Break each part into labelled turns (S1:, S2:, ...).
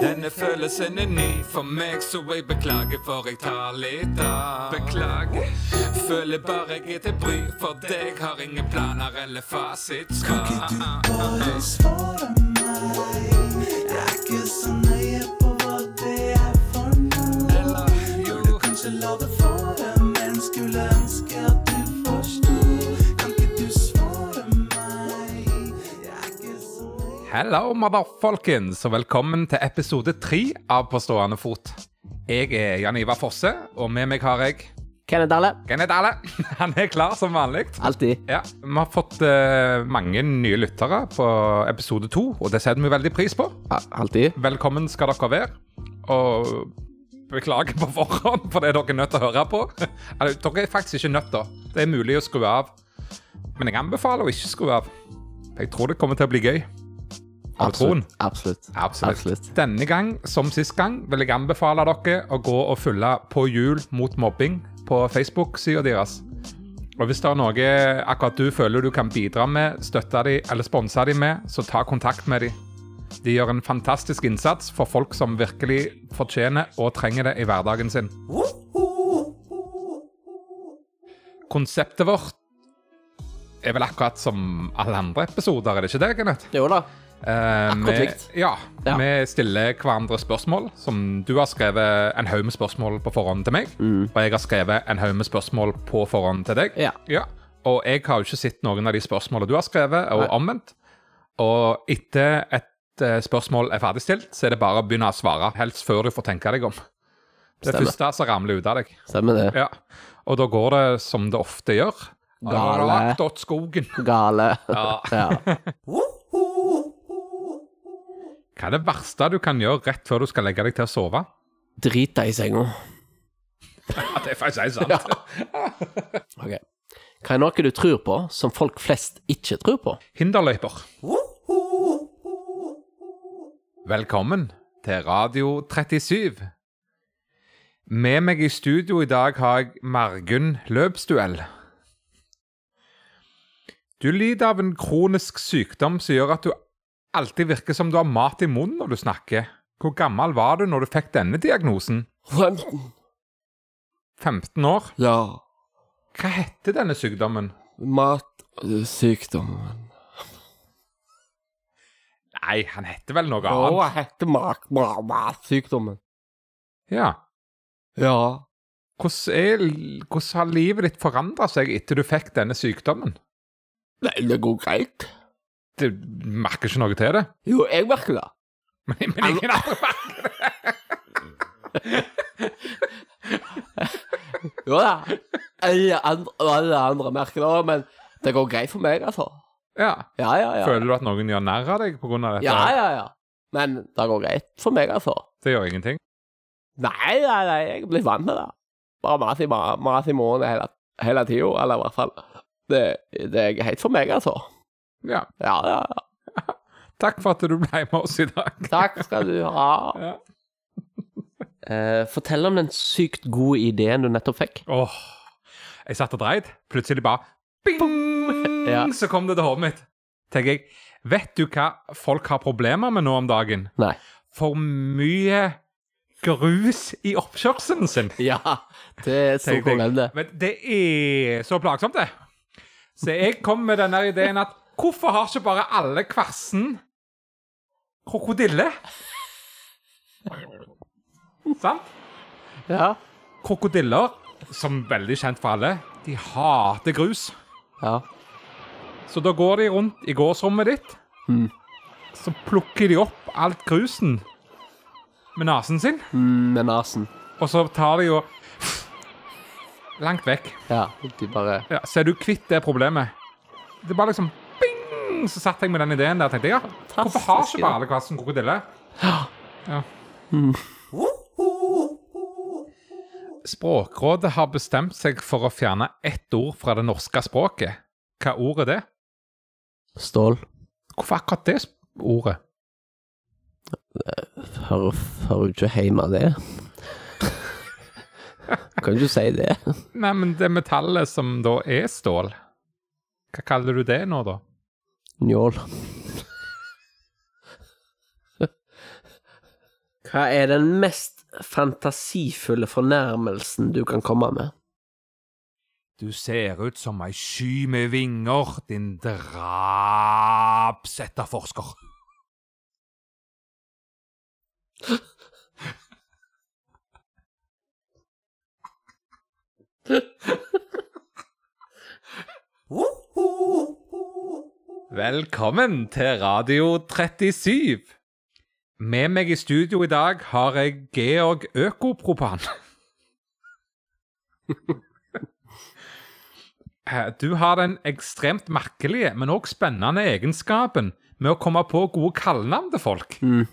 S1: Denne følelsen er ny for meg, så jeg beklager for jeg tar litt av. Beklager. Føler bare jeg er til bry for deg, har ingen planer eller fasitskap.
S2: Bare svare meg. Jeg er ikke så nøye på hva det er for noe.
S1: Eller
S2: Burde
S1: jo,
S2: kanskje la det fare, men skulle ønske at du forsto. Kan ikke du svare meg? Jeg er ikke så nøye
S3: Hello, mother folkens, og velkommen til episode tre av På stående fot. Jeg er Jan Ivar Fosse, og med meg har jeg
S4: Kenneth Dahle,
S3: Kenneth Dale. Han er klar som vanlig.
S4: alltid.
S3: Ja, Vi har fått eh, mange nye lyttere på episode to, og det setter vi veldig pris på.
S4: Ja, alltid.
S3: Velkommen skal dere være. Og beklager på forhånd for det dere er nødt til å høre på. Eller, dere er faktisk ikke nødt til. Det er mulig å skru av. Men jeg anbefaler å ikke skru av. Jeg tror det kommer til å bli gøy. Har du troen?
S4: Absolutt. Absolutt.
S3: Absolutt.
S4: Absolutt.
S3: Denne gang, som sist gang, vil jeg anbefale dere å gå og følge På hjul mot mobbing på Facebook-sida deres. Og hvis det er noe akkurat du føler du kan bidra med, støtte de eller sponse de med, så ta kontakt med de. De gjør en fantastisk innsats for folk som virkelig fortjener og trenger det i hverdagen sin. Konseptet vårt er vel akkurat som alle andre episoder, er det ikke det, Kenneth?
S4: Jo da.
S3: Eh, vi-
S4: likt.
S3: Ja,
S4: Ja.
S3: Vi stiller hverandre spørsmål. Som du har skrevet en haug med spørsmål på forhånd til meg. Og jeg har skrevet en haug med spørsmål på forhånd til deg.
S4: Mm. Ja.
S3: Og jeg har jo ikke sett noen av de spørsmålene du har skrevet, og omvendt. Og etter et eh, spørsmål er ferdigstilt, så er det bare å begynne å svare. Helst før du får tenke deg om. Det
S4: Stemmer.
S3: første som ramler ut av deg.
S4: Stemmer det.
S3: Ja. Og da går det som det ofte gjør. Da har du
S4: Gale.
S3: lagt åt skogen.
S4: Gale.
S3: Ja.
S4: ja.
S3: Hva er det verste du kan gjøre rett før du skal legge deg til å sove?
S4: Drit deg i senga.
S3: Ja, det er faktisk helt sant.
S4: Ok. Hva er noe du tror på som folk flest ikke tror på?
S3: Hinderløyper. Velkommen til Radio 37. Med meg i studio i dag har jeg Margunn Løpsduell. Du lider av en kronisk sykdom som gjør at du alltid virker som du har mat i munnen når du snakker. Hvor gammel var du når du fikk denne diagnosen?
S4: 15.
S3: 15 år.
S4: Ja.
S3: Hva heter denne sykdommen?
S4: Matsykdommen.
S3: Nei, han heter vel noe annet.
S4: jeg heter mat, mat, matsykdommen.
S3: Ja.
S4: Ja.
S3: Hvordan, er, hvordan har livet ditt forandra seg etter du fikk denne sykdommen?
S4: Nei, det går greit.
S3: Du merker ikke noe til det?
S4: Jo, jeg merker det.
S3: Men, men ingen andre merker det.
S4: Jo da. Alle andre, alle andre merker det òg, men det går greit for meg, altså.
S3: Ja.
S4: Ja, ja, ja.
S3: Føler du at noen gjør narr av deg pga. dette?
S4: Ja, ja, ja. Men det går greit for meg, altså.
S3: Det gjør ingenting?
S4: Nei, nei, nei, jeg blir vant med det. Bare mas i, ma- mas i måneden hele, hele tida, eller i hvert fall. Det, det er greit for meg, altså.
S3: Ja.
S4: Ja, ja, ja.
S3: Takk for at du ble med oss i dag.
S4: Takk skal du ha.
S3: Ja.
S4: Eh, fortell om den sykt gode ideen du nettopp fikk.
S3: Åh. Jeg satt og dreid. Plutselig bare bing,
S4: Ja.
S3: så kom det til hodet mitt. Tenker jeg, Vet du hva folk har problemer med nå om dagen?
S4: Nei.
S3: For mye grus i oppkjørselen sin.
S4: Ja, det er så
S3: Tenk, tenk.
S4: problem, det.
S3: Men det er så plagsomt, det. Så jeg kom med denne ideen at hvorfor har ikke bare alle kvarsen krokodille? Sant?
S4: Ja.
S3: Krokodiller, som er veldig kjent for alle, de hater grus.
S4: ja.
S3: Så da går de rundt i gårdsrommet ditt, så plukker de opp alt grusen med nesen sin,
S4: Mm, Med nesen.
S3: og så tar de jo langt vekk.
S4: Ja, de bare
S3: Ja, så er du kvitt det problemet. Det er bare liksom bing, så satt jeg med den ideen der og tenkte ja, hvorfor har ikke bare alle kvassen krokodille? Ja. Språkrådet har bestemt seg for å fjerne ett ord fra det norske språket. Hva ord er det?
S4: Stål.
S3: Hvorfor akkurat det sp- ordet?
S4: Hører hører du ikke hjemme av det? kan du ikke si det?
S3: Nei, men det metallet som da er stål, hva kaller du det nå, da?
S4: Njål.
S5: Hva er den mest fantasifulle fornærmelsen du kan komme med?
S1: Du ser ut som ei sky med vinger, din drapsetterforsker.
S3: Velkommen til Radio 37. Med meg i studio i dag har jeg Georg Økopropan. Eh, Du har den ekstremt merkelige, men òg spennende egenskapen med å komme på gode kallenavn til folk.
S4: Hmm.
S5: Mm.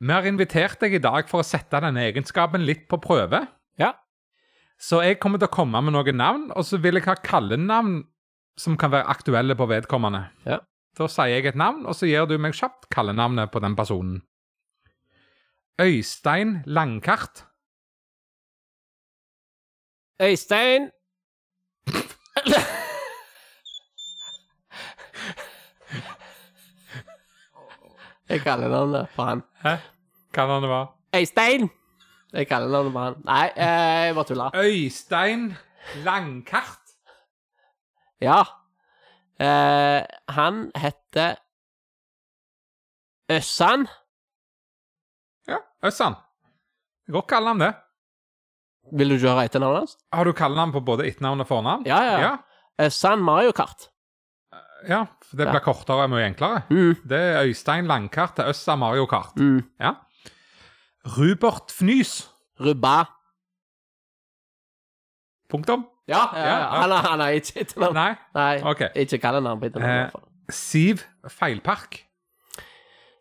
S3: Vi har invitert deg i dag for å sette denne egenskapen litt på prøve.
S4: Ja.
S3: Så jeg kommer til å komme med noen navn, og så vil jeg ha kallenavn som kan være aktuelle på vedkommende.
S4: Ja.
S3: Da sier jeg et navn, og så gir du meg kjapt kallenavnet på den personen. Øystein Langkart.
S4: Øystein Jeg kaller navnet på han.
S3: Hva var det var?
S4: Øystein! Jeg kaller navnet på han. Nei, eh, jeg bare tuller.
S3: Øystein Langkart.
S4: Ja. Eh, han heter Øssan.
S3: Ja, Øssan. Det går kalle ham det.
S4: Vil du ikke høre etternavnet hans?
S3: Har du kallenavn på både etternavn og fornavn?
S4: Ja, ja.
S3: ja.
S4: Øssan Mario Kart.
S3: ja for det blir kortere og mye enklere.
S4: Mm.
S3: Det er Øystein Langkart til Øssa Mario Kart.
S4: Mm.
S3: Ja. Rupert Fnys.
S4: Rubba.
S3: Punktum.
S4: Ja, ja, ja.
S3: ja.
S4: Han, har- han har ikke etternavn.
S3: Nei,
S4: Nei,
S3: OK.
S4: ikke kall han navn på etternavn. i
S3: Eh.
S4: hvert fall.
S3: Siv Feilpark.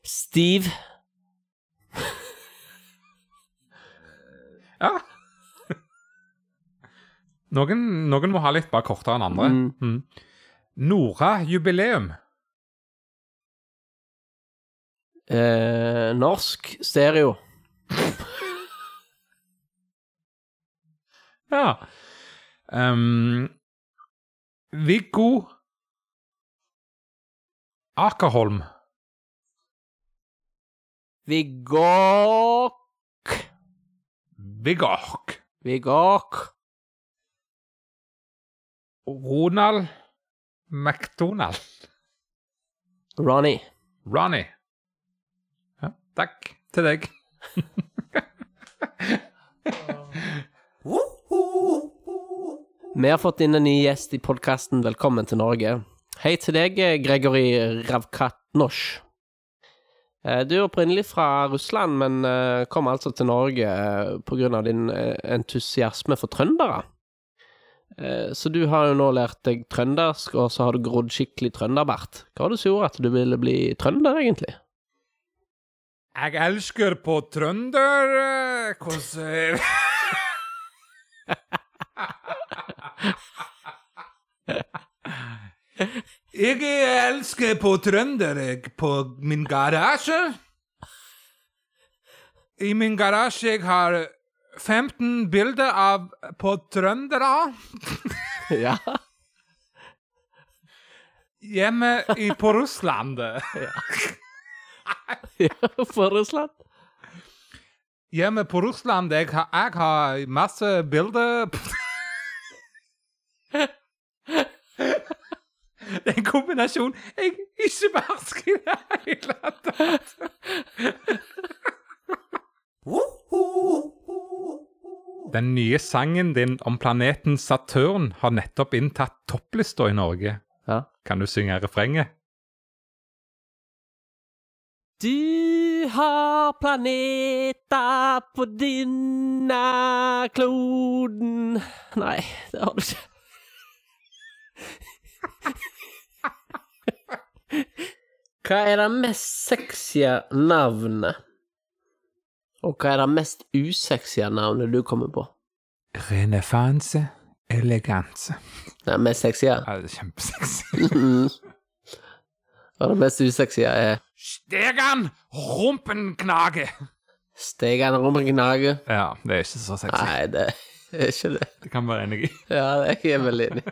S4: Steve
S3: Ja. Noen, noen må ha litt bare kortere enn andre.
S4: Mm.
S3: Mm. Nora Jubileum.
S4: eh, Norsk stereo.
S3: Ja. Um, Viggo Akerholm.
S4: Vigåk
S3: Vigork.
S4: Vigåk
S3: Ronald McDonald.
S4: Ronny.
S3: Ronny. Ja, takk til deg.
S4: Vi har fått inn en ny gjest i podkasten Velkommen til Norge. Hei til deg, Gregory Ravkatnosj. Eh, Du er opprinnelig fra Russland, men eh, kom altså til Norge eh, på grunn av din eh, entusiasme for trøndere. Eh, Så du har jo nå lært deg trøndersk, og så har du grodd skikkelig trønderbart. Hva var det som gjorde at du ville bli trønder, egentlig?
S3: Jeg elsker på trønder eh, hvordan Jeg elsker på trønder jeg, på min garasje. I min garasje jeg har 15 bilder av på trøndere.
S4: Ja.
S3: Hjemme i, på Russland.
S4: For Russland?
S3: Hjemme på Russland jeg har, jeg har masse bilder Det er en kombinasjon jeg ikke behersker i det hele tatt. Den nye sangen din om planeten Saturn har nettopp inntatt topplista i Norge.
S4: Ja.
S3: Kan du synge refrenget?
S4: Du har planeter på denne kloden Nei, det har du ikke.
S5: Hva er det mest sexy navnet?
S4: Og hva er det mest usexy navnet du kommer på?
S3: Renefanse eleganse.
S4: Det mest sexy er
S3: Ja, det er kjempesexy.
S4: Og det mest usexy er
S3: Stegan rumpenknage.
S4: Stegan rumpeknage.
S3: Ja, det er ikke så sexy.
S4: Nei, det er ikke det.
S3: Det kan være enig i.
S4: Ja, det er jeg veldig enig i.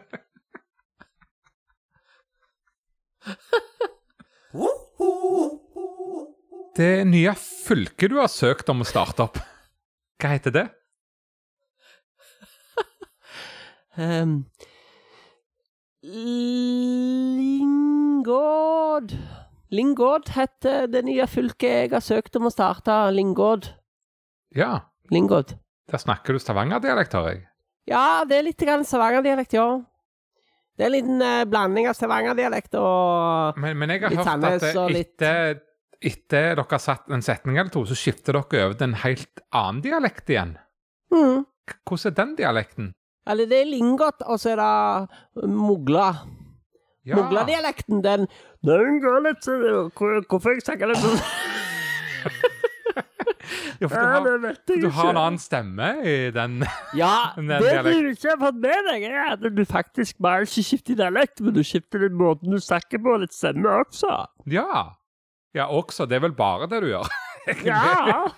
S3: Det nye fylke du har søkt om å starte opp. Hva heter det?
S4: Ehm, Lingård Lingård heter det nye fylket jeg har søkt om å starte. Lingård.
S3: Ja,
S4: Lingård.
S3: der snakker du stavangerdialekt, har jeg.
S4: Ja, det er litt grann stavangerdialekt, ja. Det er en liten eh, blanding av stavangerdialekt og
S3: Men, men jeg har
S4: Litt
S3: hørt at
S4: Sandnes
S3: det,
S4: og litt-
S3: etter, etter dere har satt en setning eller to, så skifter dere over til en helt annen dialekt igjen.
S4: mm.
S3: K- Hvordan er den dialekten?
S4: Eller det er Lingård, og så er det Mogla.
S3: Ja,
S4: Mogladialekten, den Den går litt så- hvor- Hvorfor jeg snakker litt sånn?
S3: jo, for
S4: Ja,
S3: du, har,
S4: det vet jeg
S3: du har en
S4: ikke.
S3: annen stemme i den.
S4: Ja,
S3: Den
S4: det
S3: er
S4: du
S3: dialekt.
S4: ikke har fått med deg, er at du faktisk bare ikke skifter dialekt, men du skifter den måten du snakker på, og litt stemme også.
S3: Ja. Ja, også. Det er vel bare det du gjør.
S4: Ja!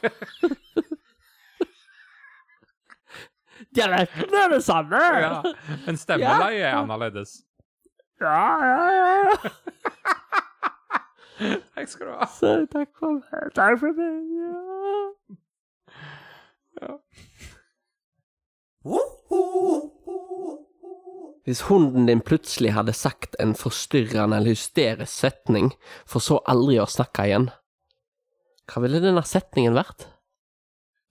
S4: Dialekten er det samme.
S3: Ja. Men stemmeleie er annerledes.
S4: ja, ja. ja.
S3: Takk skal du ha.
S4: Så takk for meg. Takk for meg. Ja.
S5: Hvis hunden din plutselig hadde sagt en forstyrrende eller hysterisk setning, for så aldri å snakke igjen, hva ville denne setningen vært?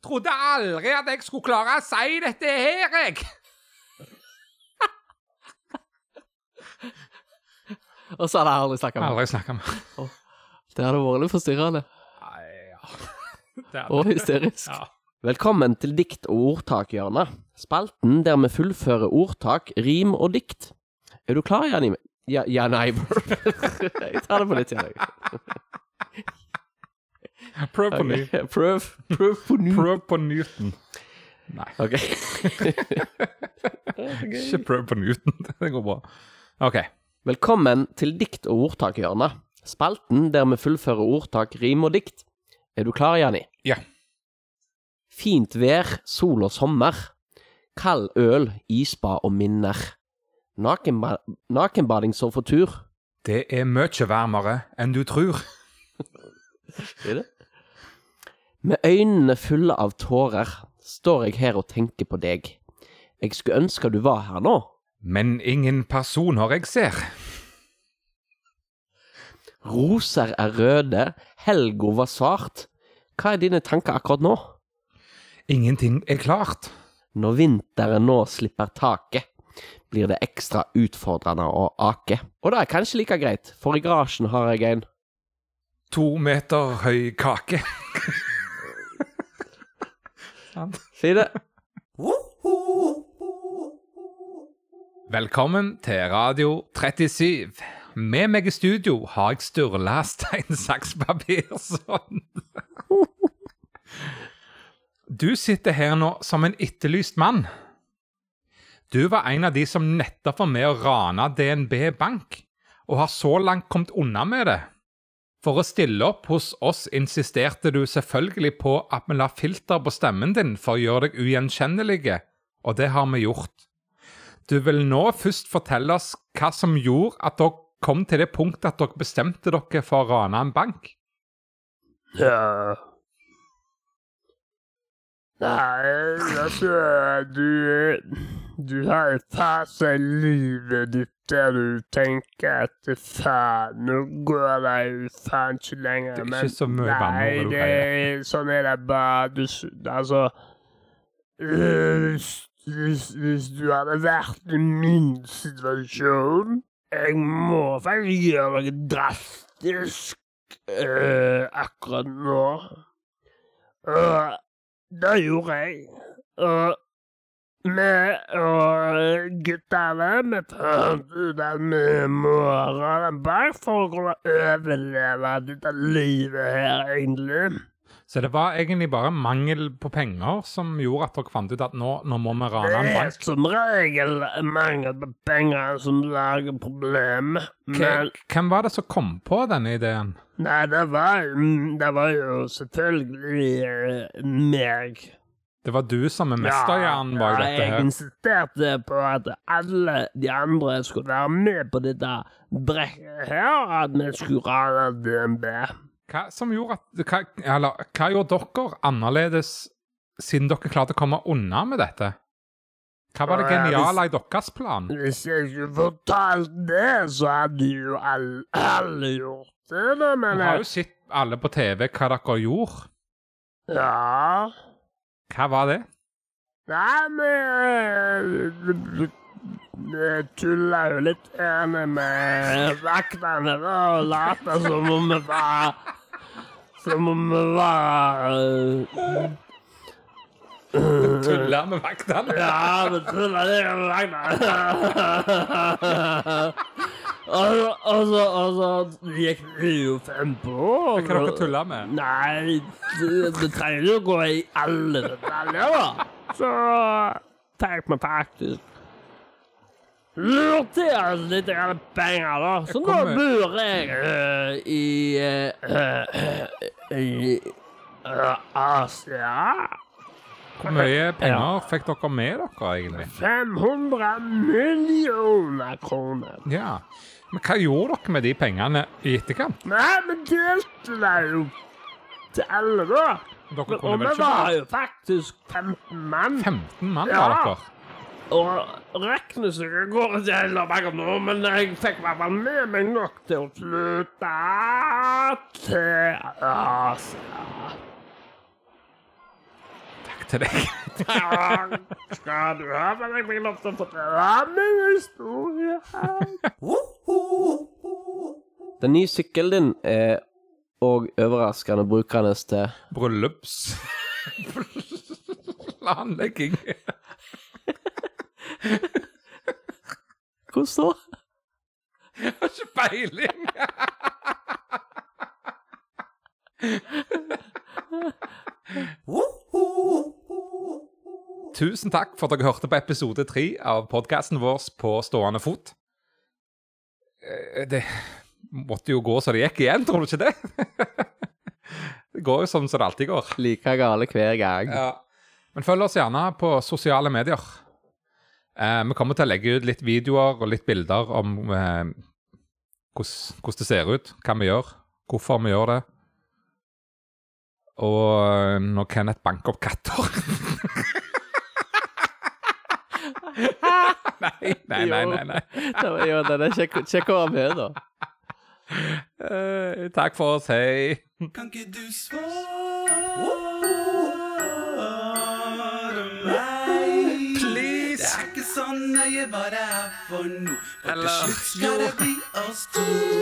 S3: Trodde aldri at jeg skulle klare å si dette her, jeg.
S4: Og så hadde jeg aldri snakka med
S3: Aldri snakka med
S4: Det hadde vært litt forstyrrende
S3: Nei, ja. Det er
S4: og hysterisk.
S3: Ja.
S5: Velkommen til dikt- og ordtakhjørnet, spalten der vi fullfører ordtak, rim og dikt. Er du klar, Jan Iver? Ja, Jan Iver. jeg tar det på nytt, Jan Iver.
S3: Prøv på ny.
S5: Ok, Prøv, prøv på ny.
S3: Prøv på Newton. Nei,
S5: Ok.
S3: ikke prøv på Newton. Det går bra. OK.
S5: Velkommen til dikt- og ordtakhjørnet, spalten der vi fullfører ordtak, rim og dikt. Er du klar, Janni?
S3: Ja.
S5: Fint vær, sol og sommer. Kald øl, isbad og minner. Nakenba nakenbading som for tur.
S3: Det er mye varmere enn du tror.
S5: Med øynene fulle av tårer står jeg her og tenker på deg. Jeg skulle ønske du var her nå.
S3: Men ingen personer jeg ser.
S5: Roser er røde, helga var svart. Hva er dine tanker akkurat nå?
S3: Ingenting er klart.
S5: Når vinteren nå slipper taket, blir det ekstra utfordrende å ake. Og det er kanskje like greit, for i garasjen har jeg en
S3: To meter høy kake.
S5: Si det.
S3: Velkommen til Radio 37. Med meg i studio har jeg Sturla Stein Saks Papirsson. Du sitter her nå som en etterlyst mann. Du var en av de som nettopp var med å rane DNB Bank, og har så langt kommet unna med det. For å stille opp hos oss insisterte du selvfølgelig på at vi la filter på stemmen din for å gjøre deg ugjenkjennelige, og det har vi gjort. Du vil nå først fortelle oss hva som gjorde at dere kom til det punktet at dere bestemte dere for å rane en bank.
S6: Ja. Nei, altså Du, du har en fase i livet ditt der du tenker at faen, nå går det jo faen ikke lenger.
S3: Det er
S6: men-
S3: ikke så mye
S6: Nei,
S3: banneord du
S6: det
S3: pleier.
S6: er, sånn er det bare. Du, s- altså øh, hvis, hvis, hvis du hadde vært i min situasjon Jeg må faktisk gjøre noe drastisk øh, akkurat nå. Og det gjorde jeg. Eh, Og vi og eh, guttene vi fant ut at vi må ha den bak for å kunne overleve dette livet her, egentlig.
S3: Så det var egentlig bare mangel på penger som gjorde at dere fant ut at nå, nå må vi
S6: Det
S3: rane en
S6: er
S3: bank.
S6: som regel mangel på penger som lager problem. Eh, Men
S3: Hvem- Hvem var det som kom på denne ideen?
S6: nei, det var, mm, det var jo selvfølgelig eh, meg.
S3: Det var du som er mesterhjernen bak
S6: ja,
S3: dette
S6: jeg
S3: her.
S6: insisterte på at alle de andre skulle være med på dette brekket her, at vi skulle rane DNB.
S3: Hva som gjorde at hva, Eller hva gjorde dere annerledes siden dere klarte å komme unna med dette? Hva var det
S6: Ja, ja,
S3: geniale i deres plan?
S6: Hvis jeg skulle fortalt det, så hadde jo alle, alle gjort det, da,
S3: Du
S6: men
S3: har jo
S6: jeg,
S3: sett alle på TV hva dere gjorde.
S6: Ja.
S3: Hva var det?
S6: Nei, men Vi tulla jo litt ene med vaktene da, og lata som om vi var Som om vi var eh,
S3: Tulla med vaktene?
S6: Ja, vi tulla litt med vaktene. Og så- og så og så gikk vi jo fem på. og-
S3: Hva dere tulla med?
S6: Nei, det, det trenger jo å gå i alle detaljer, da. Så tenk meg faktisk Lurte jeg litt grann penger, da. Så nå
S3: kommer-
S6: bor jeg eh, i eh, eh, I eh, Asia.
S3: Hvor mye penger fikk dere med dere, egentlig?
S6: 500 millioner kroner.
S3: Ja. Men hva gjorde dere med de pengene i etterkant?
S6: Nei, men delte det jo til alle, da.
S3: Dere kunne
S6: Og
S3: vel
S6: vi
S3: ikke
S6: var jo faktisk 15 mann.
S3: 15 mann,
S6: Ja.
S3: var dere?
S6: Og regnestykket går ikke heller meg om nå, men jeg fikk i hvert fall med meg nok til å flytte til Asia.
S3: Takk til deg.
S6: Her Skal du ha for jeg blir lov til å fortelle min historie her?
S5: Den nye sykkelen din er òg overraskende brukende til
S3: Bryllups... Planlegging.
S5: Hvordan da?
S3: Har ikke peiling. Tusen takk for at dere hørte på episode tre av podkasten vår På stående fot. Eh, Det måtte jo gå så det gikk igjen, tror du ikke det? Det går jo sånn som det alltid går.
S5: Like gale hver gang.
S3: Ja. Men følg oss gjerne på sosiale medier. Eh, vi kommer til å legge ut litt videoer og litt bilder om eh, hvordan hvordan det ser ut, hva vi gjør, hvorfor vi gjør det. Og eh, når Kenneth banker opp katter. nei, nei, nei. nei, nei.
S5: Det var jo det. det. Sjekk sjekk hva vi er, da.
S3: Eh, takk for oss, hei.
S2: Kan ikke du svare meg? Please! Det er ikke sånn nøye hva det er for noe. For til slutt skal det bli oss to.